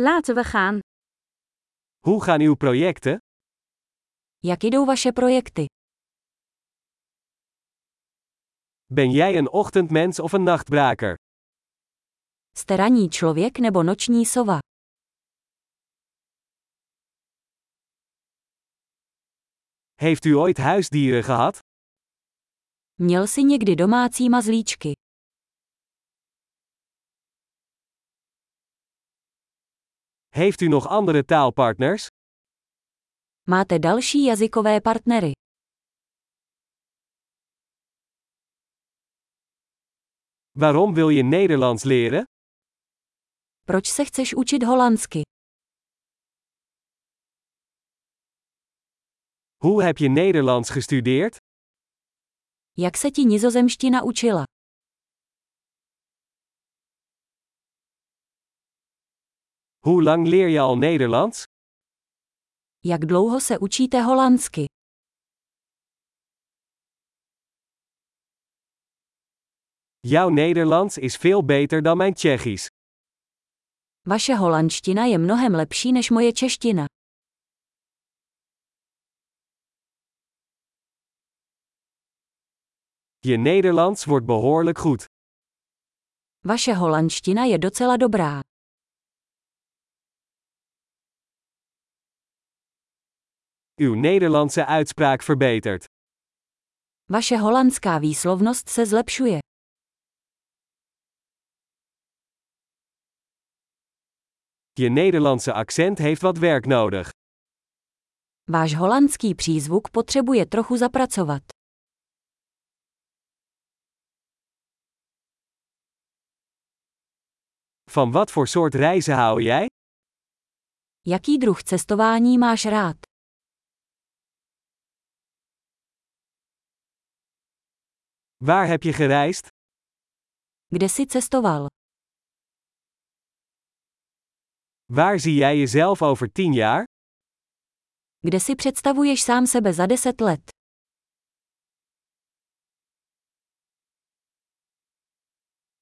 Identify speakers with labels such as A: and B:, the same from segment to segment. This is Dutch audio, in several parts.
A: Laten we gaan.
B: Hoe gaan uw projecten?
C: Jak jdou vaše projekty?
B: Ben jij een ochtendmens of een nachtbraker?
C: Jste ranní člověk nebo noční sova?
B: Heeft u ooit huisdieren gehad?
C: Měl jsi někdy domácí mazlíčky?
B: Heeft u nog andere taalpartners?
C: Máte další jazykové partnery?
B: Waarom wil je Nederlands leren?
C: Proč se chceš učit holandsky?
B: Hoe heb je Nederlands gestudeerd?
C: Jak se ti nizozemština učila?
B: Hoe lang leer je al Nederlands?
C: Jak dlouho se učíte holandsky?
B: Jouw Nederlands is veel beter dan mijn Tsjechisch.
C: Vaše holandština je mnohem lepší než moje čeština.
B: Je Nederlands wordt behoorlijk goed.
C: Vaše holandština je docela dobrá.
B: Uw Nederlandse uitspraak verbetert.
C: Vaše holandská výslovnost se zlepšuje.
B: Je Nederlandse accent heeft wat werk nodig.
C: Váš holandský přízvuk potřebuje trochu zapracovat.
B: Van wat voor soort reizen hou jij?
C: Jaký druh cestování máš rád?
B: Waar heb je gereisd?
C: Kde jsi cestoval?
B: Waar zie jij jezelf over 10 jaar?
C: Kde si představuješ sám sebe za deset let?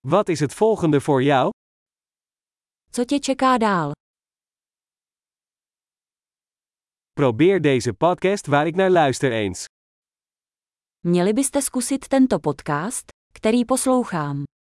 B: Wat is het volgende voor jou?
C: Co tě čeká dál?
B: Probeer deze podcast waar ik naar luister eens.
C: Měli byste zkusit tento podcast, který poslouchám.